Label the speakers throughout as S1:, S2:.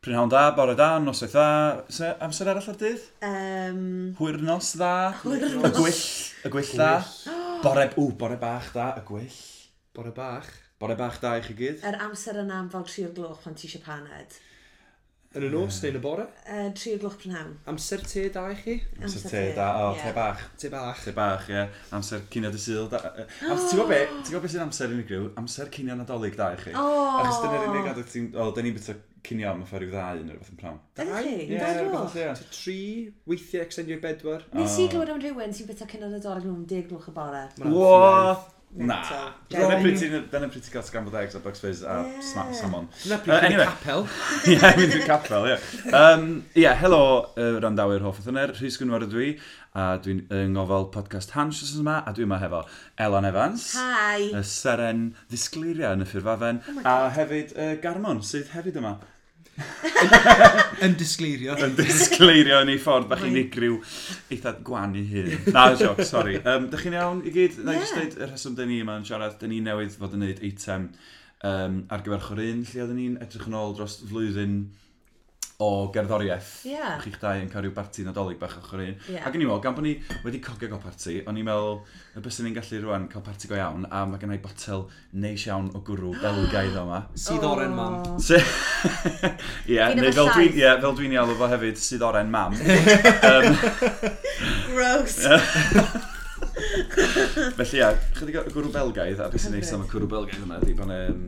S1: Prynhawn da, bore da, noswaith da, Oes 'na amser arall ar dydd?
S2: Um,
S1: Hwyrnos dda, y
S2: Hwyrnos.
S1: gwyll, y gwyll dda, bore, ww, bore bach da, y gwyll,
S3: Bore bach.
S1: bore bach da i chi gyd.
S2: yr amser yna am fel 3 o'r gloch pan ti eisiau paned.
S3: Yn y nos neu yn y bore.
S2: Uh, 3 o'r gloch prynhawn.
S3: Amser te da i chi.
S1: Amser te da, o,
S2: ie.
S1: te bach,
S3: Te bach.
S1: te bach, ie, amser cinio dy syl da. yy, Amser, ti'n gwybod be, ti'n gwybod beth sy'n amser unigryw, amser cinio nadolig da i chi.
S2: O!
S1: Achos dyna'r unig adeg ti'n, o, da ni'n bita cinio am y ffordd i'w ddau neu rhywbeth yn prawn.
S2: Ydy chi?
S1: Ie,
S2: Dau
S1: rhywbeth
S2: gloch?
S1: felly, ie.
S3: Te tri, weithiau extendio'r bedwar.
S2: Nes i glywed am rhywun sy'n bita cynnal y dorog nhw'n 10 gloch y bore.
S3: Ma' hwnna'n
S1: Wo! Na.
S2: Mental.
S1: Dyna
S2: Wrong.
S1: pryd ti'n- dyna pryd ti'n cael scrambled eggs a box fizz a
S2: Ie.
S1: sna- salmon.
S3: Dyna
S1: Uh,
S3: pryd chi'n
S1: anyway.
S3: anyway. capel.
S1: Ie, mynd i'r capel, ie. Um, ie, helo, uh, randawyr hoff ythyner, Rhys Gwynwar ydw i, a dwi'n yng ngofal podcast Hans wrth yma, a dwi'n yma hefo Elan Evans,
S2: Hi! Oh
S1: y seren ddisglyria yn y ffurfafen,
S2: my
S1: a
S2: God.
S1: hefyd uh, Garmon, sydd hefyd yma,
S3: Yn disgleirio.
S1: yn ddisgleirio yn ei ffordd bach
S2: Rwy'n-
S1: unigryw eitha gwan i hyn. Na, joc, sori. Um, Dych chi'n iawn i gyd? Na,
S2: Ie.
S1: yeah. jyst dweud y rheswm dyn ni yma yn siarad, dyn ni newydd fod yn gwneud eitem um, ar gyfer chwrin, lle oedden ni'n edrych yn ôl dros flwyddyn o gerddoriaeth.
S2: Ie.
S1: Chi'ch dau yn cael rhyw barti nadolig bach o chwrin.
S2: Ie.
S1: Ac yn i weld, gan bod ni wedi cogio gael parti, o'n i'n meddwl, y bys ni'n gallu rwan cael parti go iawn, a mae gennau botel neis iawn o gwrw belgaidd o yma.
S2: Oh.
S3: Sydd oren, mam.
S2: O.
S1: Se- Ie,
S2: Fi
S1: neu
S2: ddim
S1: fel
S2: yn
S1: dwi'n
S2: llaeth.
S1: ie, fel dwi'n ei alw fo hefyd, sydd oren mam.
S2: Gross!
S1: Felly ie, chydig o gwrw belgaidd, a beth sy'n neis am y cwrw belgaidd yma, ydy bod um,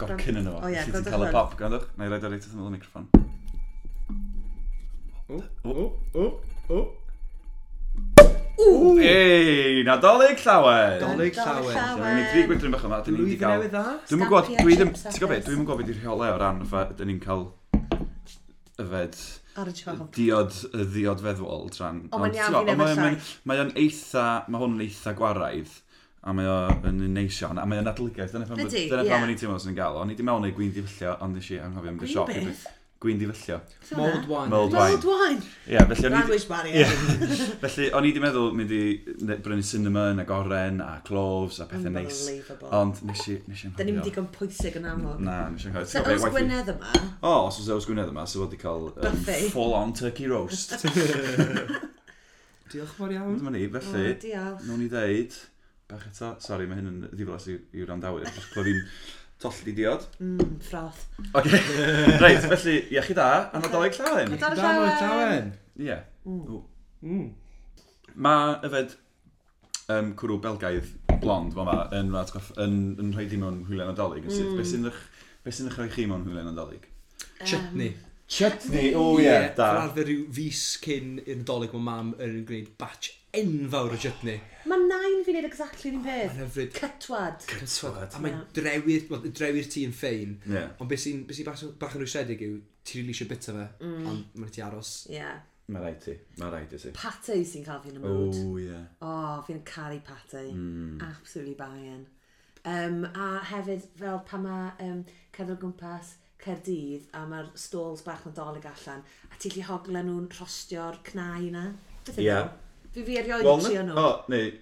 S1: gorcyn yn yma.
S2: O ie,
S1: Felly ti'n
S2: gwrdd
S1: cael y
S2: hwn.
S1: pop, gwrandwch? Na i roed ar eitha ymwyl y microffon.
S3: O, o, o, o.
S2: Ww!
S1: Ei, nadolig llawer!
S3: Nadolig.
S1: Iawn, Ni'n dri gwydryn bach yma, dyn ni'n di
S3: Lwyddyn
S1: gael...
S3: newydd dda.
S1: Dwi'n mwyn gwybod,
S2: Stampiau,
S1: dwi ddim,
S2: chips a
S1: ti'n gwybod beth,
S2: pres.
S1: dwi'n mwyn gwybod beth i'r rheolau o ran, fa, dyn ni'n cael yfed
S2: Ar y job.
S1: diod, y diod feddwl tran.
S2: O, ma'n
S1: Ond, ti'n
S2: iawn
S1: gwbod,
S2: i newid
S1: mae o'n-
S2: llai.
S1: mae'n- Mae o'n eitha, mae hwn yn eitha gwaraidd, a mae o'n yn neis iawn, a mae o'n adlygaeth. Dyna pan
S2: Ydi,
S1: dyna
S2: ie.
S1: pam o'n i'n teimlo sy'n gael, o'n i di mewn i gwyn difyllio, ond nes i anghofio mynd y
S2: Gwin
S1: siop.
S2: beth?
S1: i- Gwyn difyllio.
S3: Mold wine.
S1: Mold
S2: Mold wine!
S1: Ie, felly o'n i
S2: Language barrier.
S1: di- felly o'n i di meddwl mynd i ne- brynu cinnamon ac oren a cloves a pethau neis.
S2: Unbelievable.
S1: Ond nes i nes i
S2: Da ni'n
S1: anghofio.
S2: digon pwysig yn amlwg.
S1: Na, nes i anghofio.
S2: So,
S1: Ti'n gwbod be,
S2: os
S1: waith i-
S2: Gwynedd yma,
S1: O, os oes Ews Gwynedd yma, sydd wedi cael um,
S2: Buffet.
S1: full-on turkey roast.
S3: Diolch fawr iawn.
S1: Dyma ni,
S2: o,
S1: felly...
S2: diolch.
S1: Nawn ni ddeud, bach eto, sori mae hyn yn ddiflas i, i wrandawyr, achos clywed fi'n tollt i diod.
S2: Mm, froth.
S1: Ok, reit, felly, iach chi da, a nadolig llawen.
S2: Nadolig
S3: Dan o'r
S2: llawen.
S3: llawen.
S1: Ie. Yeah.
S3: Mm.
S1: Mae yfed um, cwrw belgaidd blond, fel ma, yn, ma, t'gwff, yn, yn rhoi di mewn hwylen nadolig, yn syth. Mm. Be sy'n ych... Be sy'n eich rhoi chi mewn hwylen nadolig?
S3: Chutney.
S1: Chutney, Oh, o
S3: Fel arfer rhyw fus cyn i'r dolyg mae mam yn gwneud batch enfawr o chutney.
S2: Mae nain fi'n neud exactly
S1: Oh,
S2: yr un
S3: Mae'n
S2: peth.
S3: hyfryd.
S2: Cytwad.
S3: A mae drewi'r, wel, y drewi'r tŷ yn ffein.
S1: Ie.
S3: Ond beth sy'n be sy bach, bach yn rwysiedig yw, ti'n rili eisiau bita fe, mm. ond mae'n ti aros.
S2: Ie.
S1: Mae rhaid ti, mae rhaid i ti.
S2: Pate sy'n cael fi'n y
S1: O,
S2: mood.
S1: ie.
S2: O, fi'n caru pate.
S1: Hmm.
S2: Absolutely banging. Um, a hefyd, fel pan mae um, cerdded o gwmpas Cerdydd a mae'r stalls bach yn dolyg allan, a ti'n lli hogla nhw'n rhostio'r cnau na. Beth
S1: Ie.
S2: ydyn nhw? Fi fi erioed yn trio
S1: Walnut?
S2: nhw.
S1: O, neu,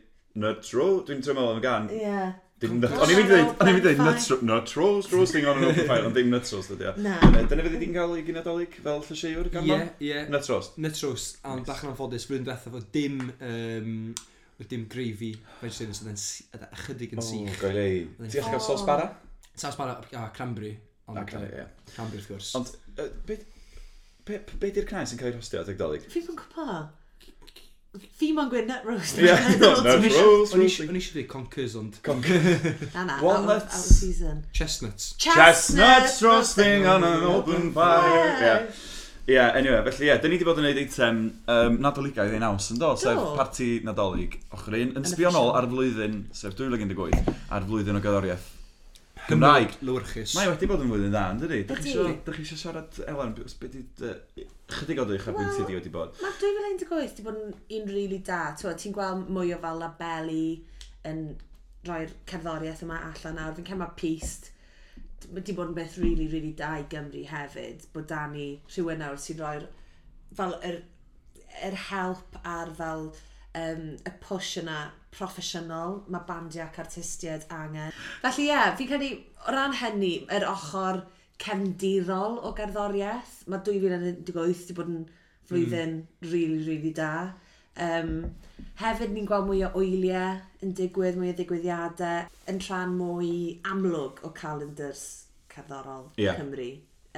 S1: nuts row, dwi'n trefnol am gan.
S2: Ie.
S1: Dim nut-
S2: Gwmpas
S1: O'n i'n mynd i
S2: ar
S1: ddweud, o'n i'n mynd i ddweud
S2: open fire.
S1: nuts, nut rolls, rolls thing on an open fire, ond dim nuts rolls dydy o.
S2: Na.
S1: Dyna- Dyna fydd i'n cael ei gynadolig fel llyseiwr gan
S3: Ie,
S1: yeah.
S3: ie.
S1: Nuts rolls.
S3: Nitros, am bach yn anffodus, flwyddyn diwethaf fod dim, um, oedd dim gravy vegetarians oedd yn si- oedd
S1: Oh.
S3: ychydig yn sych.
S1: goel ei. Ti'n gallu cael sos bara?
S3: Saws bara a cranberry, ond
S1: Na, cael
S3: yy,
S1: ei, ie.
S3: cranberry wrth gwrs.
S1: Ond, yy, beth... Be, be di'r cnau sy'n cael ei rhostio at egdolig?
S2: Fi fi'n gwybod. Fi ma'n gweud nut roast.
S1: Ie,
S2: Dwi'n
S1: no,
S2: meddwl.
S1: no.
S3: O'n i
S1: rolls,
S3: eisiau- o'n i
S1: rolls.
S3: eisiau o'n i eisiau dweud conkers, ond
S2: Na, na, out of-
S1: Walnuts.
S2: Out of season.
S3: chestnuts.
S1: Chestnuts roasting on an open fire. Ie,
S2: fire.
S1: Ie, anyway, felly ie, dyn ni wedi bod yn gwneud eitem um, nadoligaidd ein aws yn do, sef
S2: Do.
S1: parti nadolig ochr un, yn
S2: Yn
S1: sbionol
S2: official.
S1: ar flwyddyn, sef 2018, ar flwyddyn o gyddoriaeth Gymraeg.
S3: Lywyrchus.
S1: Mae wedi bod yn flwyddyn dda, yn dydi? Dych chi
S2: Ydi.
S1: isio- dach chi eisiau siarad, Elan, b- os beth i... Chydig o ddych ar bwynt
S2: Wel-
S1: sydd wedi bod.
S2: Mae 2018 wedi bod yn un rili da. T'wo, Ti'n gweld mwy o fel labeli yn rhoi'r cerddoriaeth yma allan nawr. Fi'n cema pist. Wedi bod yn beth rili, rili da i Gymru hefyd. Bod da ni rhywun nawr sy'n rhoi'r fel yr, yr help ar fel um, y push yna proffesiynol, mae bandiau ac artistiaid angen. Felly ie, yeah, fi'n credu o ran hynny, yr ochr cefndirol o gerddoriaeth. Mae 2018 wedi bod yn flwyddyn mm. really, really da. Um, hefyd ni'n gweld mwy o wyliau yn digwydd, mwy o ddigwyddiadau, yn rhan mwy amlwg o calendars cerddorol
S1: Ie.
S2: Cymru.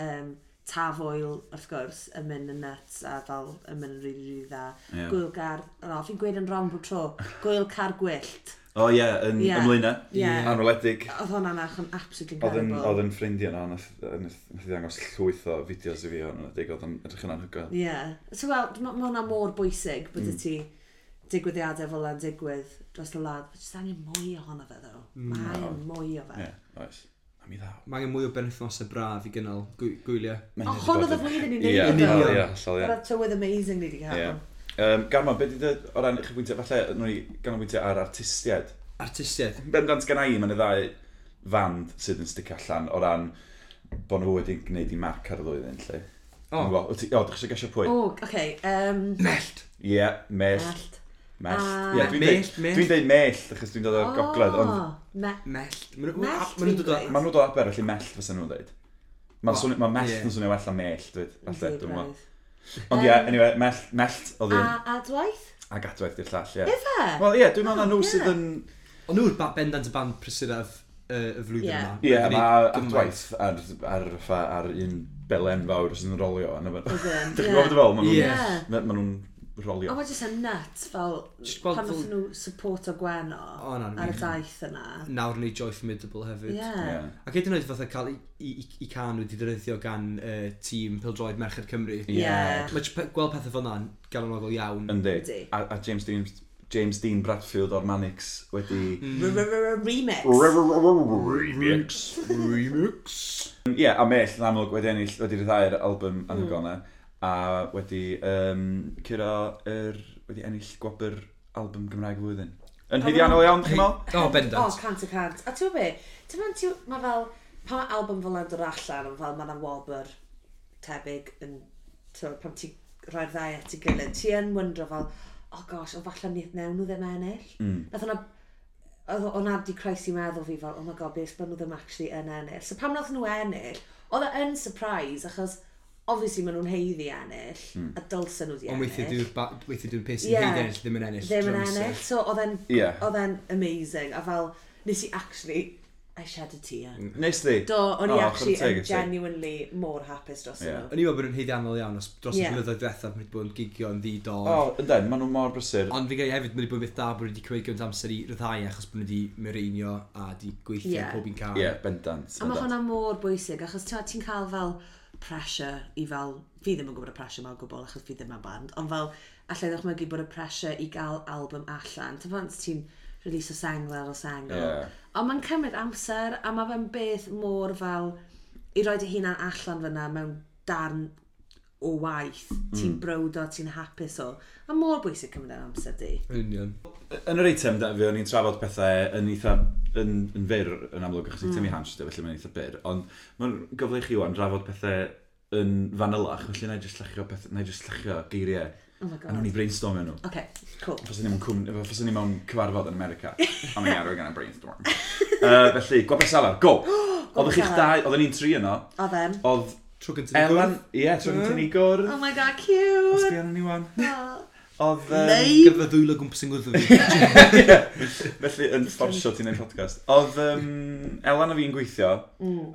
S2: Um, tafwyl, wrth gwrs, yn mynd yn nuts a fel yn mynd yn rili, really, really dda.
S1: Ie.
S2: Gwylgar, o, fi'n gweud yn wrong bob tro, gwylcar gwyllt.
S1: O ie, yn
S2: Ie.
S1: ymlaen
S2: Ie.
S1: Anweledig.
S2: Oedd hwnna'n ach yn absolutely
S1: Oedd yn,
S2: incredible.
S1: oedd yn ffrindiau na, nath, nath, nath i ddangos llwyth o fideos i fi o'n ymlaedig, oedd yn edrych yn anhygoel.
S2: Ie. Yeah. So wel, ma' ma' hwnna mor bwysig bod mm. ti digwyddiadau fel yna'n digwydd dros y wlad. Mae jyst angen mwy ohono fe, ddo. Mae angen mwy o fe.
S1: Ie, oes. Am i ddaw.
S3: Mae angen mwy o benthnosau braf i gynnal gwy- gwyliau.
S1: Mae'n
S2: O,
S1: neud i
S2: hon
S1: bod
S2: oedd y
S1: yn- Ie,
S2: flwyddyn i wneud
S1: Ie,
S2: yeah,
S3: Union.
S1: ie, allol, ie.
S2: Mae'r tywydd amazing ni wedi cael.
S1: Ie. Um, Garman, beth i ddod o ran eich bwyntio, falle nhw i ganolbwyntio ar artistiaid.
S3: Artistiaid.
S1: Bendant gan i, mae'n y ddau fand sydd yn sticio allan o ran bod nhw wedi gwneud i marc ar y ddwyddyn, lle.
S3: O.
S1: O, o, ti- o, dych chi eisiau gesio pwy?
S2: O, oce. yym,
S3: Mellt.
S1: Ie, mellt.
S2: Mellt.
S1: Mellt.
S2: A-
S1: Ie, dwi'n deud-
S3: Mellt, mellt.
S1: dwi'n deud mellt, achos dwi'n dod o'r gogledd, ond
S2: O, me-
S3: Mellt.
S2: Mellt,
S3: Mae'n
S2: fi'n
S3: dod o...
S2: gweud.
S1: Mae nhw dod o aber, felly mell fysa nhw'n dweud. Mae'n
S3: Wel,
S1: swnio, mae mell
S3: ie.
S1: yn swnio well na mell, dweud. Falle,
S2: Yndi,
S1: dwi'n meddwl.
S2: braidd.
S1: Ond ie, anyway, mell, mellt oedd
S2: A e?
S1: un,
S2: adwaith?
S1: a gadwaith i'r llall, ie.
S2: Ife?
S1: Wel, ie, dwi'n meddwl na
S2: O,
S1: nhw
S2: Oh, ie.
S1: sydd yn...
S3: Ond nhw'r ba- bendant y band prysyraf y flwyddyn
S2: Ie.
S3: yma.
S1: Ie,
S3: Wedi
S1: mae
S3: gwneud
S1: adwaith ar, ar, fatha- ar un belen fawr sy'n rolio. Dwi'n
S2: Ydyn,
S1: gwybod
S2: ie.
S1: fel, maen
S3: Ie.
S1: nhw'n- ma- ma' nhw'n rolio.
S2: Ond mae jyst yn nuts fel
S3: Jyst gweld
S2: pan
S3: fel-
S2: wnaethon nhw support o Gweno
S3: O, na,
S2: ar y
S3: wir.
S2: daith yna.
S3: Nawr ni Joy Formidable hefyd.
S2: Ie.
S1: Ie.
S3: Ac hyd yn oed fatha cael i, i, i- i can wedi dyryddio gan uh, tîm Pildroed Merched Cymru.
S1: Ie.
S2: Ie.
S3: Mae jyst pe- gweld pethau fel na'n galonogol iawn.
S1: Yndi.
S2: Yndi.
S1: A a James Dean, James Dean Bradfield o'r Manix wedi...
S2: Remix.
S1: Remix.
S3: Remix.
S1: Yym, Ie, a Mell yn amlwg wedi ennill, wedi rhyddhau'r album
S2: Hmm.
S1: anhygoel yna, a wedi um, curo yr, wedi ennill gwobr album Gymraeg y flwyddyn. Yn heiddiannol iawn, chi'n meddwl?
S3: O, bendant.
S2: O, cant y cant. A ti'n gwbod be? Ti'n mynd, ti'n... Mae fel... Pa mae album fel yna'n dod allan, ond fel mae'n wobr tebyg yn... Ti'n pam ti rhoi'r ddau at ei gilydd, ti yn wyndro fel... O oh gosh, o falle ni newn nhw ddim ennill. Mm. Nath hwnna... Oedd hwnna di croesi meddwl fi fel, oh my god, beth bod nhw ddim actually yn ennill. So pam nath nhw ennill, oedd e yn surprise, achos obviously maen nhw'n heiddi ennill, a dylse nhw di ennill.
S3: Mm. Ond weithio dwi'n weithio dwi'n pus i
S2: Ie.
S3: heiddi ennill ddim yn ennill.
S2: ddim yn
S3: drymsyn.
S2: ennill. So oedd e'n
S1: Ie.
S2: oedd e'n amazing. A fel, nes i actually, I shed a tear.
S3: Mm.
S1: Nes di?
S2: Do, o'n i
S1: O,
S2: actually
S1: chwarae teg
S2: yn
S1: i ti.
S2: genuinely mor hapus dros
S1: Ie.
S2: nhw.
S3: O'n i'n meddwl bod nhw'n heiddiannol iawn os dros y
S2: Ie.
S3: blynyddoedd diwethaf mae wedi bod yn gigio yn ddiddor.
S1: O, ynden, maen nhw mor brysur.
S3: Ond fi'n gael hefyd mae wedi bod yn beth da bod wedi cymryd gymaint o amser i ryddhau achos bod nhw wedi myreinio a wedi gweithio
S2: Ie.
S3: yeah. pob un cael.
S1: Ie, bendant.
S2: A mae
S1: bendant.
S2: hwnna mor bwysig, achos ti'n ti'n cael fel pressure i fel, fi ddim yn gwybod y pressure mewn gwbl, achos fi ddim yn band, ond fel, allai ddychmygu bod y pressure i gael album allan. Ti'n fawr ti'n release o sengl ar o sengl.
S1: Ie.
S2: Ond mae'n cymryd amser, a mae fe'n beth mor fel, i roed y hunan allan fyna mewn darn o waith,
S1: Mm.
S2: ti'n browd o, ti'n hapus o. A mor bwysig cymryd yr amser di.
S3: Yn union.
S1: Yn yr eitem da fi, o'n i'n trafod pethau yn eitha yn, yn fyr yn amlwg, achos i
S2: Mm.
S1: tynnu hans, felly mae'n eitha byr. Ond mae'n gyfle i chi wan drafod pethau yn fanylach, felly na i jyst llachio, peth, na i jyst llachio geiriau.
S2: Oh my
S1: A nawn
S2: god.
S1: ni brainstormio nhw.
S2: Okay, cool.
S1: Fos ni mewn cwm... Fos ni mewn cyfarfod yn America. A mae'n arwyr gan y brainstorm. uh, felly, gwobr salad, go! Oedd chi'ch
S2: salad.
S1: dau, oedd ni'n tri yno.
S2: O then.
S1: Oedd
S3: Trwy gyntaf ni
S1: Elan... Ie, trwy'n tyn i gwrdd.
S2: Oh my god, cute!
S1: Sbian yn i wan.
S2: Oh.
S1: Oedd... Um,
S2: Neu.
S3: gwrdd. Gyfa ddwylo gwmpas yng Nghyrdd fi.
S1: felly, yn fforsio ti'n neud podcast. Oedd um, Elan a fi'n gweithio,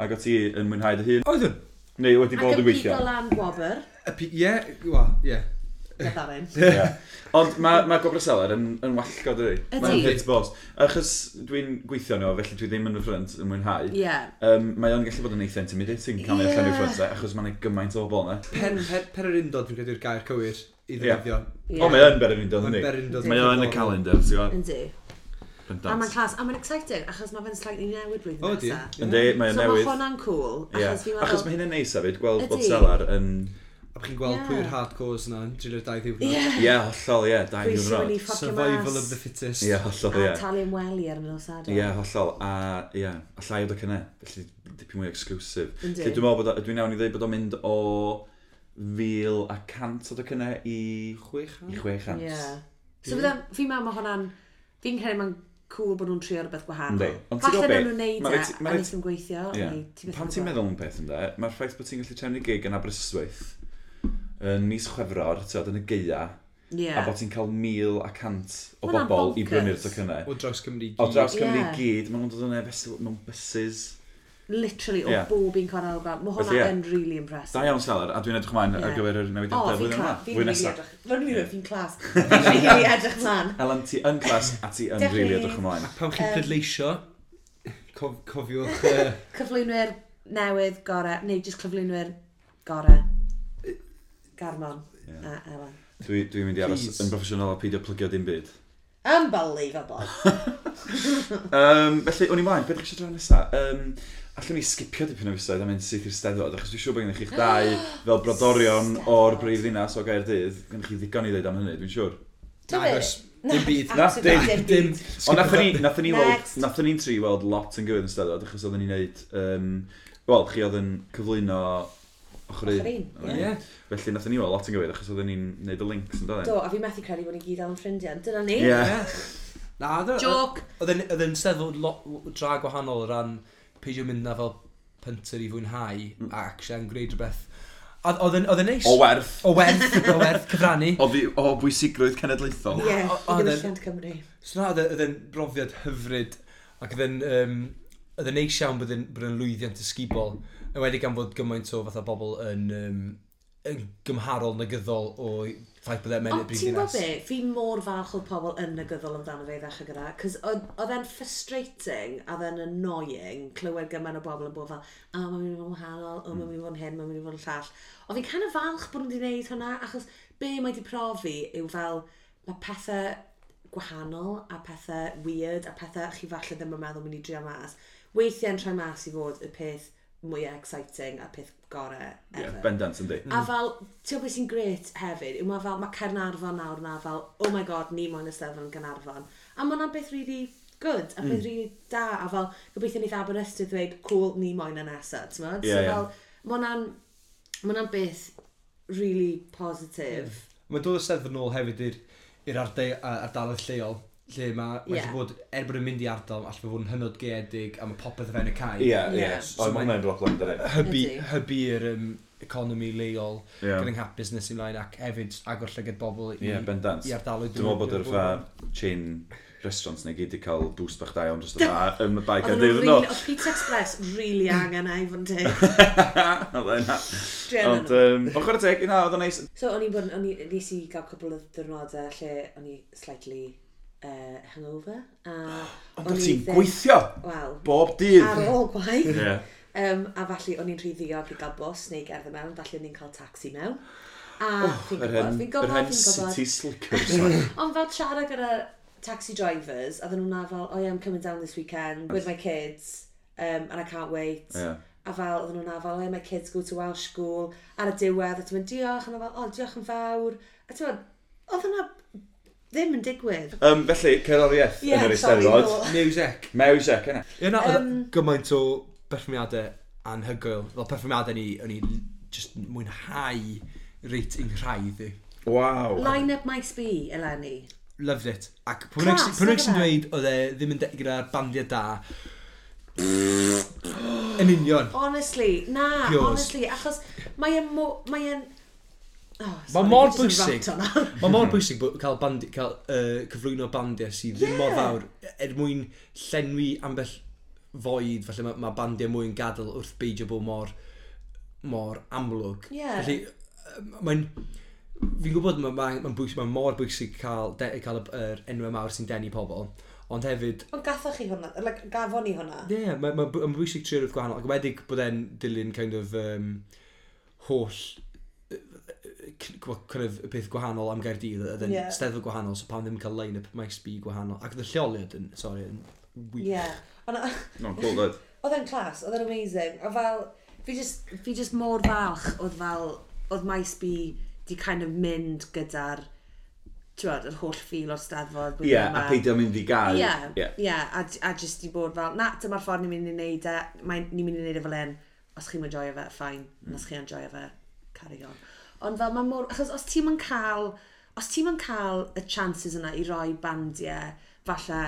S1: ac oedd ti yn mwynhau dy hun.
S3: Oedd hwn?
S1: Neu wedi
S2: Ac
S1: bod
S2: Mm. yn
S1: yn
S2: pigo
S1: gweithio.
S2: lan gwobr,
S3: Y pi- Ie, wa, ie.
S2: gyda'r un.
S1: Ie. Ond mae ma Gobra Seller yn, yn wallgo dydy. Mae'n
S2: Ydi.
S1: hit boss. Achos dwi'n gweithio nhw, felly dwi ddim yn y ffrant yn mwynhau.
S2: Ie.
S1: Um, mae o'n gallu bod yn eitha intimidating cael ei allan
S2: Ie.
S1: i'r ffrynsau, achos mae'n gymaint o bobl yna.
S3: Per, per, per yr undod dwi'n credu'r gair cywir i ddefnyddio.
S1: O, mae o'n beryg yn dod
S3: Mae'n
S1: ni.
S3: berundod.
S1: Mae o'n y calendar, ti'n gwybod?
S2: Yndi. A mae'n
S1: Bendant.
S2: clas, a mae'n exciting, achos mae fe'n slightly newid rwy'n
S3: O, di.
S2: nesaf.
S1: Yndi, mae
S2: Mm-hmm. So
S1: o'n
S2: mae
S1: newydd.
S2: hwnna'n cool,
S1: Ie.
S2: achos fi'n
S1: Achos
S2: meddwl...
S1: mae hyn yn neis hefyd, gweld bod
S2: Ydi.
S1: selar yn...
S3: A bych chi'n gweld pwy'r
S2: Ie.
S3: hardcores yna yn drwy'r dau ddiwrnod.
S2: Ie.
S1: Ie, hollol, ie, da
S2: Pwy
S1: ni'n
S2: sy'n mynd i
S1: rhod.
S2: ffocio
S3: Survival of the
S2: mas.
S3: fittest.
S1: Ie, hollol,
S2: A
S1: ie.
S2: talu'n wely ar y nos adeg.
S1: Ie, hollol. A, ie, a llai o docynnau, felly dipyn mwy exclusif.
S2: Yndi.
S1: Felly dwi'n meddwl bod, o- dwi'n iawn i ddweud bod o'n mynd o fil a cant o docynnau i...
S3: Chwech
S1: i
S3: an?
S1: chwech cant.
S2: Ie. So fydda- fi'n meddwl mae hwnna'n... Fi'n credu mae'n cool bod nhw'n trio rhywbeth gwahanol.
S1: Yndi. Ond ti'n
S2: Falle
S1: gwbod
S2: na
S1: be?
S2: nhw'n neud
S1: Ma'
S2: e,
S1: raid ti- ma'
S2: a
S1: raid
S2: nes nhw'n gweithio,
S1: Ie.
S2: neu ti
S1: Pan
S2: beth
S1: ti'n meddwl am beth ynde, mae'r ffaith bod ti'n gallu trefnu gig yn Aberystwyth yn mis chwefror, tyd, yn y geia,
S2: Ie.
S1: a bod ti'n cael mil a cant o
S2: Ma' hwnna'n
S1: bobl i
S2: bonkers.
S1: brynu'r tocynnau.
S3: O draws Cymru i
S1: O draws
S2: Ie.
S1: Cymru i gyd, maen nhw'n dod yn efo mewn buses.
S2: Literally, o
S1: Ie.
S2: bob un cornel o'r blant. Mae
S1: Felly, ie.
S2: hwnna yn really impressive.
S1: Da iawn selar, a dwi'n edrych ymlaen ar
S2: Ie.
S1: gyfer yr
S2: O,
S1: newidiadau
S2: fi'n
S1: flwyddyn
S2: clas.
S1: yma. Fwy
S2: Fi'n really
S1: nesaf.
S2: edrych. Fy'n really fi'n clas. Fi'n really edrych mlaen.
S1: Elen, ti yn clas a ti yn
S2: Definitely.
S1: rili edrych ymlaen.
S3: Pan chi'n
S2: Yym.
S3: pleidleisio, cof, cofiwch... yy,
S2: Cyflwynwyr newydd gore, neu jyst cyflwynwyr gore. Garmon
S1: Ie.
S2: a Elen.
S1: Dwi- Dwi'n mynd i aros
S3: Please.
S1: yn broffesiynol a peidio plygio dim byd.
S2: Unbelievable.
S1: Um, felly, o'n i mlaen, beth ydych chi eisiau drafod nesaf? Um, allwn ni sgipio dipyn o fisoedd a mynd syth i'r steddfod, achos dwi'n siŵr bod gennych chi'ch dau fel brodorion o'r brif ddinas o gair dydd. Gennych chi ddigon i ddeud am hynny, dwi'n siŵr.
S2: Ti'n
S3: Nagos, dim byd.
S1: Na,
S2: Absolutely
S1: dim-
S2: dim
S3: Dim...
S2: byd.
S1: Ond nathon ni, nathon ni, weld,
S2: Next.
S1: nathon ni'n tri weld lot yn gywydd yn steddfod, achos oedden ni'n neud, um, wel, chi oedd yn cyflwyno ochr
S2: Ochr
S1: un.
S2: un,
S1: Oedden ni-
S3: Ie.
S1: Felly, nathon ni weld lot yn gywydd, achos oedden ni'n neud y links yn dod.
S2: Do, a fi methu credu bod ni gyd am ffrindiau. Dyna ni.
S1: Ie.
S3: Ie. Na, oedd o-
S2: Joke.
S3: oedd yn- oedd yn steddfod lot dra gwahanol o ran peidio mynd na fel pynter i fwynhau a actually yn gwneud rhywbeth. A- Oedd yn oedd yn neis.
S1: Mm. O werth,
S3: O werth, o werth cyfrannu.
S1: o, fi, o bwysigrwydd cenedlaethol.
S2: Ie, i
S3: O- o-
S2: gyfeilliant Cymru.
S3: So na, oedd e- oedd e'n brofiad hyfryd ac oedd e'n um, oedd e'n neis iawn bod e'n bod e'n lwyddiant ysgubol yn wedi gan fod gymaint o fatha bobl yn, um, yn gymharol negyddol o ffaith bod e'n mynd
S2: Ond
S3: y brif
S2: ti'n gwybod
S3: ddinas.
S2: be, fi mor falch oedd pobl yn negyddol amdano fe i ddechrau gyda, cos oedd oedd e'n frustrating a oedd e'n annoying clywed gymaint o bobl yn bod fel, o, mae'n mynd i fod yn wahanol, o, mae'n mynd i fod yn hyn, mae'n mynd i fod yn llall. Ond fi'n kind of falch bod nhw wedi gwneud hwnna, achos be mae wedi profi yw fel, mae pethau gwahanol a pethau weird a pethau chi falle ddim yn meddwl mynd i drio mas. Weithiau'n troi mas i fod y peth mwyaf exciting a peth gorau
S1: Ie,
S2: ever.
S1: bendant yn di.
S2: A fel, ti'n gwybod beth sy'n gret hefyd, yw mae fel, mae Cernarfon nawr na fel, oh my god, ni moyn ysteddfod yn Cernarfon. A mae hwnna'n beth really good,
S1: Hmm.
S2: a beth really da, a fel, gobeithio ni ddabod ystyr ddweud, cool, ni moyn yn nesaf, ti'n gwybod?
S1: Ie, ie.
S2: So fel, mae hwnna'n, mae hwnna'n beth really positive.
S1: Hmm.
S3: Mae'n dod y steddfod nôl hefyd i'r- i'r ardau ardaloedd lleol lle mae ma
S2: Ie.
S3: yeah. bod, er bod yn mynd i ardal, allai fod yn hynod geedig a mae popeth o fewn y cae.
S1: Ie, ie.
S2: Ie.
S1: Oedd mae'n neud lot o'n dweud.
S3: Hybu,
S2: Ydi.
S3: hybu'r um, economi leol,
S1: Ie.
S3: yeah. gyda'n busnes i mlaen ac hefyd agor llygad bobl i,
S1: Ie, bendant.
S3: i ardaloedd.
S1: Dwi'n meddwl bod yr fa chain restaurants neu gyd i cael boost bach da iawn dros y fa yn y bai
S2: Oedd
S1: gael ddeud yn
S2: nhw'n really,
S1: ôl.
S2: oedd Pizza Express really angen ei fod yn teg.
S1: Oedd e'n na. Ond, yym, ond chwarae teg, na, oedd o'n neis.
S2: So, o'n i'n bod, o'n i, nes i gael cwbl o ddyrnodau lle o'n i slightly uh, hangover. A
S1: Ond
S2: o'n
S1: oedd
S2: i
S1: ti'n
S2: ddim-
S1: gweithio
S2: Wel,
S1: bob dydd.
S2: ar ôl gwaith.
S1: Ie.
S2: Um, a falle o'n i'n rhy ddiog i gael bus neu gerdded mewn, falle o'n i'n cael taxi mewn. A fi'n
S1: Oh, Yr
S2: gwybod,
S1: hen,
S2: fi'n
S1: yr
S2: gwybod,
S1: hen
S2: fi'n
S1: city
S2: gwybod.
S1: slickers. ma.
S2: Ond fel siarad gyda taxi drivers, a ddyn nhw'n fel, oh yeah, I'm coming down this weekend with my kids, um, and I can't wait.
S1: Ie.
S2: A fel, oedden nhw'n fel, oh yeah, my kids go to Welsh school, ar y diwedd, a ti'n mynd, diolch, a ma' fel, oh, diolch yn fawr. A ti'n mynd, oedd hwnna ddim yn digwydd.
S1: Yym, Felly, cerddoriaeth
S2: Ie,
S1: yn yr
S2: sorry,
S1: eisteddfod.
S2: no.
S3: Music.
S1: Mew sec, yna.
S3: Ie, na, oedd
S2: Yym.
S3: gymaint o perfformiadau anhygoel. Fel perfformiadau ni, o'n i just mwynhau reit yng nghraidd i.
S1: Waw.
S2: Line up my spi, Eleni.
S3: Loved it. Ac pwy
S2: Class,
S3: nag sy'n
S2: nag yfe?
S3: dweud oedd e ddim yn de- gyda'r bandiau da. Yn union.
S2: Honestly, na,
S3: Yours.
S2: Yours. honestly, achos mae e'n... mo- Mae e'n... Oh,
S3: Mae
S2: sorry,
S3: mor
S2: fi jyst yn
S3: bwysig.
S2: rant hwnna.
S3: Mae mor bwysig bod cael, bandi, cael uh, cyflwyno bandiau sydd ddim mor
S2: Ie.
S3: fawr er mwyn llenwi ambell foed. Felly mae ma bandiau mwy'n gadael wrth beidio bod mor, mor amlwg.
S2: Ie.
S3: Felly yy, mae'n... Fi'n gwybod mae'n ma, ma bwysig, mae mor bwysig cael, de, cael y- yr enwau mawr sy'n denu pobl. Ond hefyd,
S2: Ond gathoch chi hwnna, like, gafon ni hwnna.
S3: Ie, yeah, mae'n ma, ma ma'n bwysig trio rhywbeth gwahanol. Ac wedig bod e'n dilyn kind of um, holl yy, yy, c- gwa- kind of peth gwahanol am Gaerdydd, oedd e'n
S2: Ie.
S3: yeah. steddfod gwahanol, so pan ddim yn cael line-up maes B gwahanol. Ac oedd y lleoliad yn, sorry, yn
S2: Ie.
S3: weak.
S2: Yeah. Ond
S1: No, cool, dweud.
S2: oedd e'n clas, oedd e'n amazing. A fel, fi just, fi just mor falch oedd fel, oedd maes bi di kind of mynd gyda'r, ti'n yr holl ffil o'r steddfod. blwyddyn
S1: Ie, a
S2: yma.
S1: peidio mynd i gael.
S2: Ie,
S1: Ie.
S2: ie, a, a jyst i bod fel, na, dyma'r ffordd ni'n mynd i wneud e, mae- ni'n mynd i wneud e fel un, os chi'n enjoyo fe, ffain, mm. os chi'n enjoyo fe, carry on. Ond fel mae mor, achos os ti'n yn cael, os ti'n yn cael y chances yna i roi bandiau, falle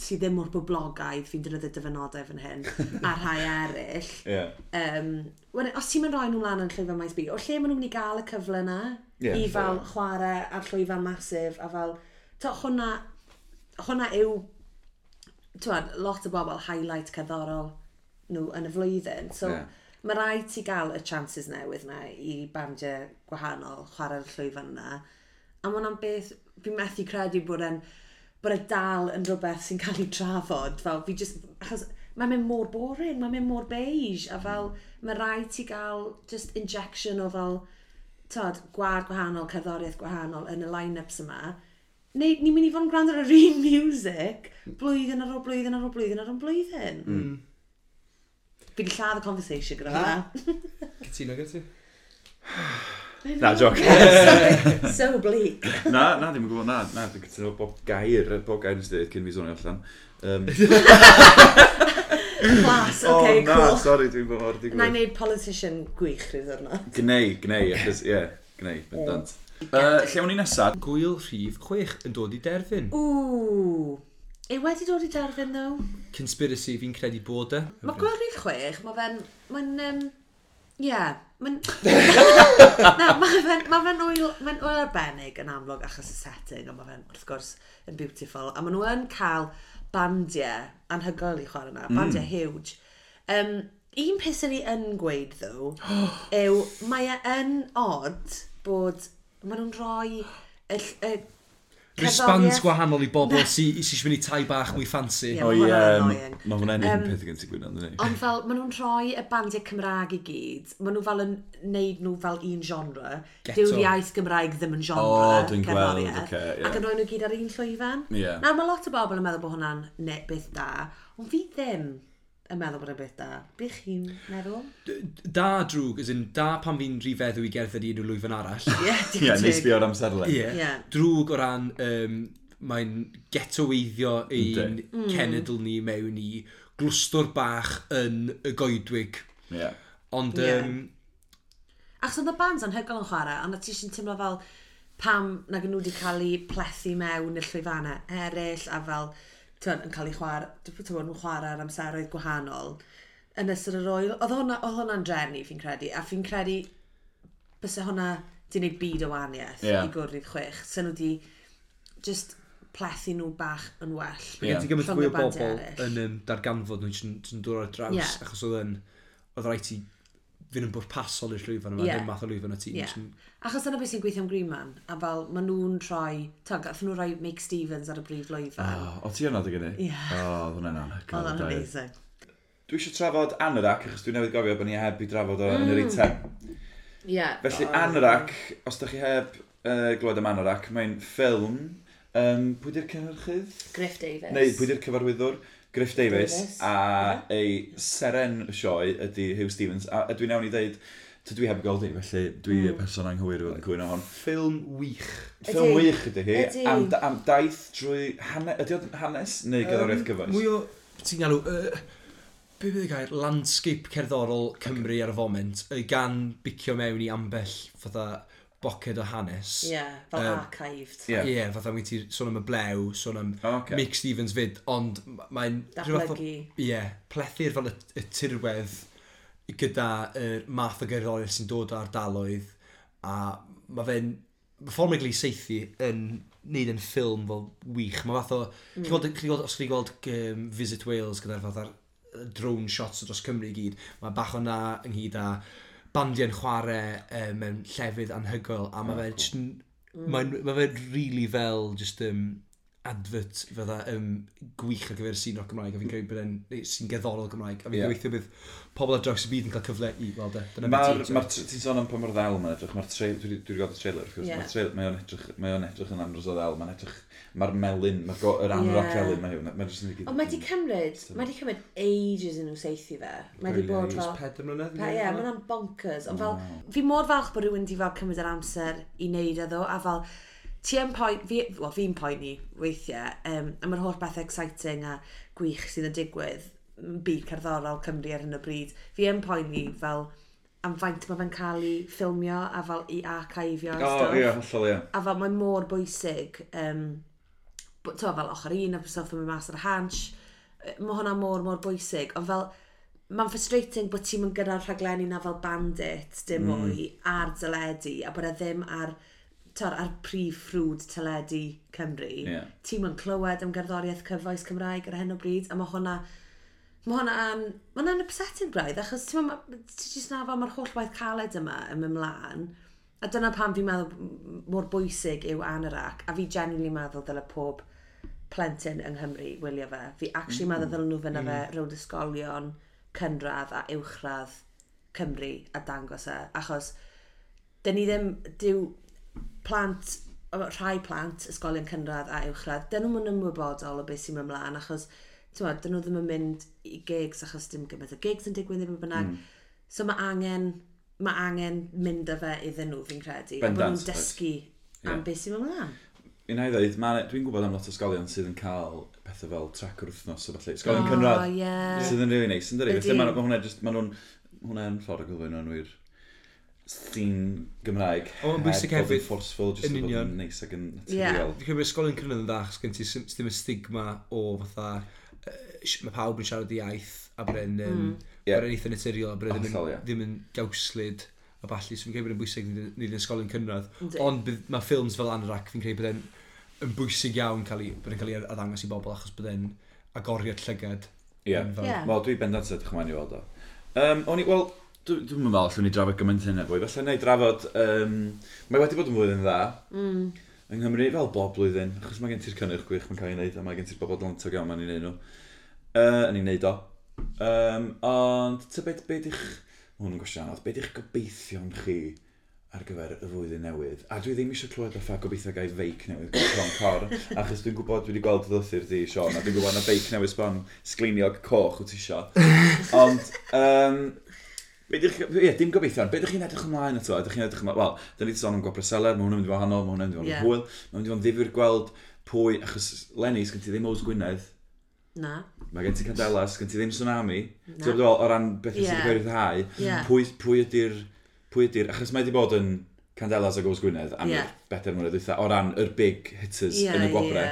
S2: sydd ddim o'r boblogaidd fi'n dynyddu dyfynodau fan hyn a rhai eraill.
S1: Ie.
S2: Um, wedyn, os ti'n mynd roi nhw lan yn llwyfan maes B, o lle maen nhw'n mynd i gael y cyfle yna
S1: Ie,
S2: i fel
S1: fair.
S2: chwarae ar llwyfan masif a fel, to, hwnna, hwnna yw, twad, lot o bobl highlight cerddorol nhw yn y flwyddyn. So,
S1: Ie.
S2: mae rhaid ti gael y chances newydd na i bandiau gwahanol chwarae'r llwyfan yna. A mae hwnna'n beth, fi methu credu bod e'n bod e dal yn rhywbeth sy'n cael ei trafod. Fel, fi just, achos mae'n mynd mor boring, mae'n mynd mor beige, a fel, mae rhaid ti gael just injection o fel, tod, gwad gwahanol, cerddoriaeth gwahanol yn y line-ups yma. Neu, ni'n mynd i fod yn gwrando ar yr un music blwyddyn ar ôl blwyddyn ar ôl blwyddyn ar ôl blwyddyn. Mm. Fi wedi lladd y conversation gyda hwnna.
S3: Cytuno gyda ti?
S1: Na, joc.
S2: so bleak.
S1: Na, na, ddim yn gwybod, na, na, dwi'n cytuno bob gair, yy, bob gair nes dweud cyn fi swnio allan. Um,
S2: Class, oce, okay,
S1: Oh, na,
S2: cool.
S1: sori, dwi'n bod mor di
S2: Na i wneud politician gwych rhyw ddwrna.
S1: Gneu, gneu, achos, ie, gneu, bendant. Uh, lle o'n i nesaf?
S3: Gwyl rhif chwech yn dod i derfyn.
S2: Ww. E wedi dod i derfyn, ddo?
S3: Conspiracy fi'n credu bod e.
S2: Mae gweld rhif chwech, mae fe'n... Mae'n... Um, Ie, mae'n... Na, mae fe'n ma fe oil, ma oil arbennig yn amlwg achos y setting, a mae fe'n, wrth gwrs, yn beautiful. A maen nhw yn cael bandiau anhygoel i chwarae yna, bandiau huge. Um, un peth sy'n ni yn gweud, ddo, yw mae e yn odd bod maen nhw'n rhoi... Y, ll- y,
S3: Response
S2: cerddoriaeth-
S3: gwahanol i bobl sy'n sy mynd i tai bach mwy fancy.
S2: Ie.
S1: O
S2: ma'
S1: ie,
S2: hwnna'n
S1: m-
S2: annoying.
S1: ma' hwnna'n un
S2: Yym,
S1: peth gen ti gwybod, ynddi ni?
S2: Ond fel, maen nhw'n rhoi y bandiau Cymraeg i gyd. Maen nhw fel yn neud nhw fel un genre.
S3: Geto.
S2: Dyw'r iaith Gymraeg ddim yn genre.
S1: O, dwi'n gweld,
S2: cerddoriaeth,
S1: ocê, ie.
S2: Ac yn rhoi nhw gyd ar un llwyfan.
S1: Ie.
S2: Nawr, mae lot o bobl yn meddwl bod hwnna'n ne- beth da. Ond fi ddim yn meddwl bod yn beth da. Be chi'n meddwl?
S3: Da drwg, as in, da pan fi'n rifeddw i gerdded i unrhyw lwyfan arall.
S2: Ie,
S1: Ie, neis fi o'r amserlen.
S3: Ie.
S2: Ie.
S3: Drwg o ran, um, mae'n getoweiddio ein
S1: Yndi.
S2: Mm.
S3: cenedl ni mewn i glwstwr bach yn y goedwig.
S1: Ie.
S3: Ond,
S2: Ie.
S3: um,
S2: Achos oedd y bands anhygoel yn chwarae, ond ti eisiau teimlo fel pam nag nhw wedi cael eu plethu mewn i'r llwyfannau eraill a fel tywed, yn cael eu chwarae, dwi'n bod nhw'n chwarae ar amseroedd gwahanol yn ystod yr oil. Oedd hwnna- oedd hwnna'n drenu fi'n credu, a fi'n credu bys hwnna di wneud byd o waniaeth
S1: Ie.
S2: i gwrdd i'r chwech. Sa'n nhw di just plethu nhw bach yn well.
S3: Mae gen ti gymaint
S2: Rhwng
S3: fwy
S2: y
S3: o
S2: bandiau
S3: bobl
S2: eraill.
S3: yn um, darganfod nhw'n sy'n- sy'n dod ar draws,
S2: Ie.
S3: achos oedd yn, oedd rhaid ti fynd yn bwrpasol i'r llwyfan yma,
S2: Ie.
S3: ddim math o llwyfan y tîm.
S2: Ie.
S3: sy'n-
S2: Achos yna beth sy'n gweithio am Green Man, a fel maen nhw'n troi, ta, gath nhw roi Mick Stevens ar y brif
S1: O,
S2: lwyfan.
S1: o ti yna dy gynnu?
S2: Ie.
S1: O, oedd hwnna'n
S3: Ah,
S1: anhygoel.
S2: Oedd o'n
S1: dau.
S2: amazing.
S1: Dwi eisiau trafod Anorak, achos dwi newydd gofio bod ni heb i drafod o yn yr un tem.
S2: Ie.
S1: Felly Anorak, os da chi heb uh, glywed am Anorak, mae'n ffilm, um, pwy di'r cynhyrchydd?
S2: Griff Davis.
S1: Neu pwy di'r cyfarwyddwr? Griff Davis,
S2: Davies.
S1: a ei seren y sioe ydy Hugh Stevens. A ydw i nawn i ddeud, tydw i heb gael di, felly dwi mm. person anghywir i fod yn cwyno hon.
S3: Ffilm wych.
S1: Ffilm
S2: Ydy.
S1: wych ydy hi,
S2: Ydy.
S1: am, am daith drwy hanes, ydy o'n hanes neu gyddoriaeth gyfoes?
S3: Mwy o, ti'n galw, yy, be bydd y gair, landscape cerddorol Cymru ar y foment, yy, gan bicio mewn i ambell fatha boced o hanes.
S2: Ie, fel
S3: Yym,
S2: archived.
S1: Ie.
S3: Ie, yeah, fatha mi ti sôn am y blew, sôn am
S1: O, ocê.
S3: Mick Stevens fyd, ond ma- mae'n... rhyw fath o-
S2: Datblygu.
S3: Ie, plethu'r fel y, y tirwedd gyda y math o gerddoriaeth sy'n dod o ardaloedd a mae fe'n mae ffordd mae'n gael ei seithi yn neud yn ffilm fel wych. Mae fath o... Mm. Chi gweld, chi gweld, os chi gweld um, Visit Wales gyda'r fath ar yy, drone shots dros Cymru i gyd, mae bach o na ynghyd â bandiau'n chwarae um, mewn llefydd anhygoel a mae fe'n jyst yn-
S2: Mm.
S3: mae'n ma fe really fel just um, advert fydda um, gwych ar gyfer y sîn o'r Gymraeg a fi'n credu bod e'n neu sy'n gerddorol Gymraeg a fi'n
S1: Ie.
S3: yeah. gobeithio bydd pobl ar draws y byd yn cael cyfle i weld e. Dyna
S1: Mae'r,
S3: beth ti'n-
S1: ma ti'n sôn am pa mor ddel mae'n edrych, mae'r trail, dwi wedi gweld y trailer, wrth gwrs,
S2: Ie.
S1: yeah. mae'r trail, mae o'n edrych, mae o'n edrych yn andros o ddel, mae'n edrych, mae'r melin, mae'r go- yr anorak
S2: Ie.
S1: yeah. melin, mae'n ma jyst yn digid. Mm.
S2: Ond mae di cymryd, mae di cymryd ages yn nhw seithi fe. Mae di
S1: Really
S2: bod
S1: ages.
S2: fel...
S3: Peder mlynedd?
S2: Pa, ie, mae hwnna'n bonkers. Ond fel, fi mor falch bod rhywun di fel cymryd yr amser i wneud iddo, a fel, ti yn poen, fi, wel, fi'n poen ni weithiau, um, a mae'r holl beth exciting a gwych sydd yn digwydd, yn byd cerddorol Cymru ar hyn o bryd, fi yn poen ni fel, am faint mae fe'n cael ei ffilmio a fel i archifio a
S1: O,
S2: stuff.
S1: ie, hollol ie.
S2: a fel mae mor bwysig um, bo- t'mo', fel ochr un a stwff yn mynd mas ar y hansh. Yy, Mae hwnna mor, mor bwysig, ond fel, mae'n frustrating bod ti'n mynd gyda'r rhaglenni na fel bandit, dim mm. mwy, ar dyledu, a bod e ddim ar, tor, ar prif ffrwd teledu Cymru.
S1: Ie.
S2: Ti'n mynd clywed am gerddoriaeth cyfoes Cymraeg ar hyn o bryd, a mae hwnna, mae hwnna yn, mae hwnna'n upsetting braidd, achos ti'n mynd, ti'n just na fel mae'r holl waith caled yma yn mynd mlaen, a dyna pam fi'n meddwl m- mor bwysig yw anorac, a fi genuinely meddwl dyle pob plentyn yng Nghymru wylio fe. Fi actually mm. meddwl ddylen nhw fyna fe rownd ysgolion, cynradd a uwchradd Cymru a dangos e, achos dyn ni ddim, dyw plant, o, rhai plant, ysgolion cynradd a uwchradd, dyn nhw'n ymwybodol o beth sy'n mynd mlaen, achos t'mod, dyn nhw ddim yn mynd i gigs, achos dim gymaint o gigs yn digwydd ddim yn bynnag.
S1: Hmm.
S2: Mm. So mae angen, mae angen mynd â fe iddyn nhw, fi'n credu. a bod
S1: Bendant,
S2: nhw'n dysgu am
S1: Ie.
S2: beth sy'n mynd mlaen.
S1: Mi na i ddweud, dwi'n gwybod am lot o ysgolion sydd yn cael pethau fel trac yr wythnos o falle. Ysgolion
S2: O,
S1: cynradd
S2: ie.
S1: sydd yn rili neis, yn dyri?
S2: Ydi.
S1: Felly mae ma hwnna just, mae nhw'n, hwnna yn ffordd o gyflwyn nhw'n wir sîn Gymraeg.
S3: O, ma'n bwysig
S1: heb bod yn
S3: hefyd.
S1: forceful, just
S3: Yn
S1: yn bod
S3: union.
S1: yn neis ac yn
S2: Ie.
S1: naturiol.
S3: Dwi'n credu bod ysgolion cynnydd yn dda, achos gen ti sym- sdim y stigma o fatha, yy, sh- mae pawb yn siarad ei iaith, a bod e'n yym,
S1: Ie.
S3: bod e'n eitha naturiol, a bod e ddim
S1: Hollol, ie.
S3: yn- ddim yn gawslyd a balli, so fi'n credu bod e'n bwysig nid yn ysgolion cynradd.
S2: Yndi.
S3: Ond bydd- mae ffilms fel Anorak, fi'n credu bod e'n yn bwysig iawn cael ei, bod e'n cael ei addangos i bobl achos bod e'n agoriad llygad.
S1: Ie.
S3: Yn fel-
S2: Ie.
S1: Wel, dwi bendant edrych ymlaen i weld o. Um, o'n i, wel, dw- dwi'n meddwl allwn ni drafod gymaint hyn efo. Felly na i drafod, um, mae wedi bod yn flwyddyn dda. Mm. Yng Nghymru fel bob blwyddyn, achos mae gen ti'r cynnyrch gwych mae'n cael ei wneud, a mae gen ti'r bobl dlantog iawn mae'n ei wneud nhw. Uh, yn ei wneud o. Um, ond, ty beth be di'ch, ma' hwn yn gwestiwn anodd, be di'ch gobeithion chi ar gyfer y flwyddyn newydd? A dwi ddim eisiau clywed fatha gobeithio gael feic newydd gan Tom Cor, achos dwi'n gwybod dwi wedi gweld dy ddothur di, Sean, a dwi'n gwybod na feic newydd sbon sgliniog coch wyt ti isio. Ond, um, Be dych, ie, dim gobeithio, ond be ydych chi'n edrych ymlaen ato? Ydych chi'n edrych ymlaen, wel, da ni wedi sôn am gopra seler, mae hwnna'n mynd i fod wahanol, mae hwnna'n mynd i fod yn
S2: Ie.
S1: yeah. hwyl, mae hwnna'n mynd i fod yn ddifur gweld pwy, achos Lenny, sgan ti ddim Ows Gwynedd,
S2: Na.
S1: mae gen ti Cadela, sgan ti ddim Tsunami,
S2: Na.
S1: ti'n gwybod o ran beth sydd
S2: Ie.
S1: wedi cael ei ddhau,
S2: Ie.
S1: pwy, pwy ydy'r, pwy ydy'r, achos mae wedi bod yn Candelas ac Ows Gwynedd am
S2: Ie.
S1: yeah. bedair mwynedd dwytha, o ran yr big hitters yn y gwobre.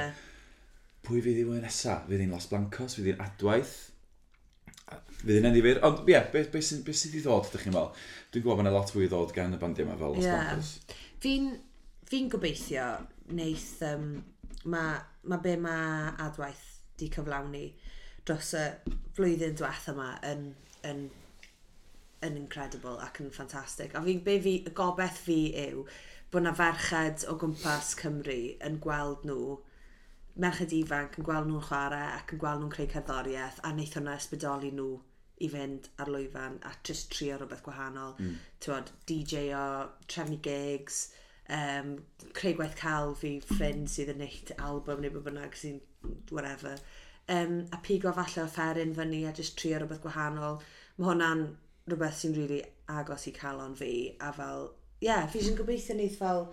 S1: Pwy fydd i fwy nesa? Fydd hi'n Las Blancos, fydd hi'n Adwaith, fydd hi'n Endifur. Ond ie, yeah, beth be, sy'n- be sydd i ddod, ydych chi'n fel? Dwi'n gwybod bod yna lot fwy i ddod gan y bandiau yma fel Las
S2: Ie.
S1: Blancos.
S2: Fi'n fi gobeithio wneith, um, mae ma be mae adwaith di cyflawni dros y flwyddyn diwetha yma yn, yn, yn incredible ac yn ffantastig. A fi, be fi, y gobeith fi yw bod na ferched o gwmpas Cymru yn gweld nhw merched ifanc yn gweld nhw'n chwarae ac yn gweld nhw'n creu cerddoriaeth a wneith hwnna ysbydoli nhw i fynd ar lwyfan a just trio rhywbeth gwahanol. Mm. Tywod, DJ o, trefnu gigs, um, creu gwaith cael fi ffrind sydd yn neud album neu be bynnag sy'n whatever. Um, a pigo falle o fferin fyny a just trio rhywbeth gwahanol. Mae hwnna'n rhywbeth sy'n rili really agos i calon fi a fel, ie, yeah, fi sy'n gobeithio neith fel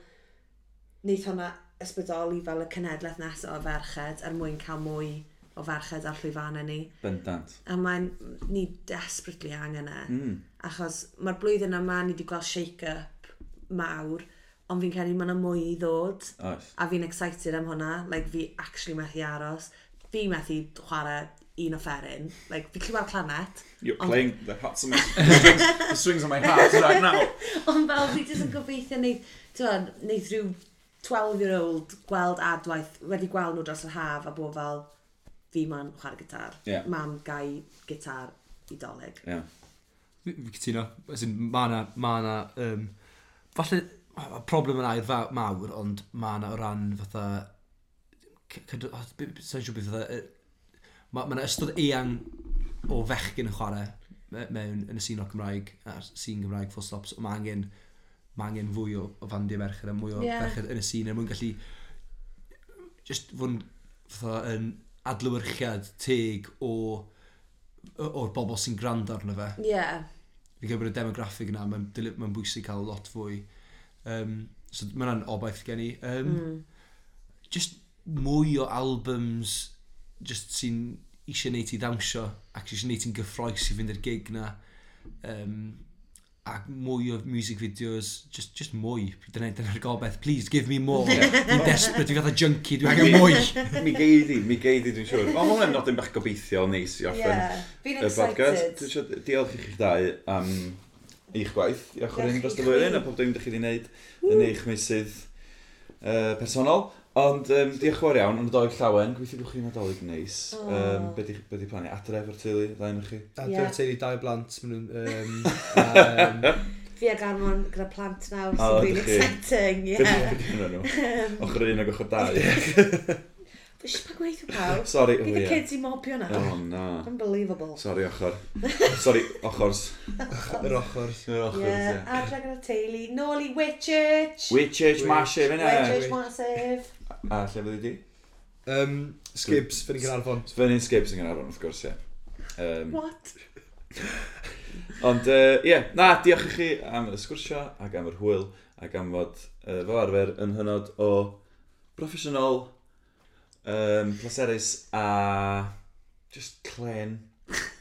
S2: wneud hwnna ysbrydoli fel y cenedlaeth nesaf o ferched er mwyn cael mwy o ferched ar llwyfannau ni.
S1: Bendant.
S2: A mae'n ni desperately angen e. Mm. Achos mae'r blwyddyn yma ni wedi gweld shake-up mawr, ond fi'n credu mae yna mwy i ddod.
S1: Oes.
S2: A fi'n excited am hwnna. Like, fi actually methu aros. Fi methu chwarae un o fferin. Like, fi clywed clanet.
S1: You're playing the hats on my... the, strings, the strings on my hat right now.
S2: Ond fel fi jyst yn gobeithio neud, ti'n neud rhyw 12-year-old gweld adwaith, wedi gweld nhw dros yr haf a bod fel, fi ma'n chwarae gitar.
S1: Ie.
S2: Mam gau gitar i dolyg.
S1: Yeah.
S3: Fi fi cytuno. As in, ma' na, ma' na, um, falle, y problem yna i'r faw- mawr, ond ma' na o ran fatha, c- cyd- o, b- b- sa'n siŵr beth fatha, yy, ma' ma' na ystod eang o fechgyn yn chwarae me- mewn yn y sîn o Cymraeg, a'r sîn Gymraeg full stops, ond ma' angen, ma' angen fwy o, o fandiau merched a mwy o
S2: Ie.
S3: yeah. ferched yn y sîn, er mwyn gallu just fod yn fatha yn adlywyrchiad teg o o- o'r bobl sy'n gwrando arno fe.
S2: Ie. Yeah.
S3: Fi'n credu bod y demograffig yna, mae'n ma bwysig cael lot fwy. Um, so mae hwnna'n obaith gen i. Um, mm. Just mwy o albums just sy'n eisiau neud ti ddawnsio ac eisiau neud ti'n gyffroes i fynd i'r gig na. Um, a mwy o music videos, just, just mwy. Dyna- Dyna'r gobeth, please, give me more.
S1: Ie.
S3: Dwi'n desperate, dwi'n fatha junkie, dwi'n angen mwy.
S1: Mi geidi, mi geidi dwi'n siŵr. Ond mae'n nodyn bach gobeithiol neis i orffen
S2: Yeah, fi'n
S1: y podcast. Dwi
S2: excited.
S1: isio diolch i chi'ch dau am eich gwaith. Diolch o'r
S2: Diolch
S1: un
S2: i
S1: dros y
S2: chi.
S1: flwyddyn a pob dim ydych chi wedi gwneud yn eich meysydd uh, personol. Ond um, diolch yn fawr iawn, ond doedd llawen, gweithio bod chi'n adolyg neis.
S2: O.
S1: Um, be di, be di plannu? Adref o'r teulu, ddau'n chi?
S3: A
S2: Ie.
S3: dwi'n teulu dau blant, maen nhw'n... yym, a, yym,
S2: Fi ag Armon gyda plant nawr,
S1: O,
S2: sy'n really
S1: ydych chi?
S2: exciting,
S1: Be di
S2: ie.
S1: be di hwnna nhw? Ochr un ag ochr dau.
S2: Fi eisiau pa gweithio pawb.
S1: Sorry,
S2: Bydd y
S1: o ie. Oh.
S2: kids i mobio na.
S1: O na.
S2: Unbelievable.
S1: Sorry ochr. Sorry, ochors.
S3: Yr ochr.
S1: Yr ochors,
S2: Yeah,
S1: ie.
S2: adra gyda teulu. Nôl i Whitchurch.
S1: Witches
S3: Witch.
S1: Mashe, fe na.
S2: Whitchurch massive.
S1: A lle fyddi di?
S3: Um, Skips, fyny gan arfon.
S1: Fyny'n Skips yn Gaernarfon, wrth gwrs, ie. Um,
S2: What?
S1: ond, yy, ie, na, diolch i chi am y sgwrsio, ac am yr hwyl, ac am fod, uh, fel arfer, yn hynod o broffesiynol, um, pleserus a just clen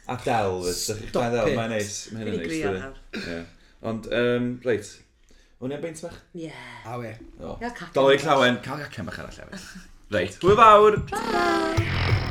S1: a del, fyd. Dych chi'ch
S3: Stop
S1: dau del,
S3: it.
S1: mae'n neis. Mae
S2: Fi'n
S1: hynny'n
S2: ei
S1: neis,
S2: grio
S1: dydi?
S2: nawr.
S1: Ie. Ond, um, reit, hwn i'n beint bach?
S2: Yeah.
S3: A we.
S1: O.
S2: Gael cacen
S1: Dolig
S2: bach.
S1: llawen, cael cacen bach arall llawen. Reit, hwyl fawr!
S2: Bye!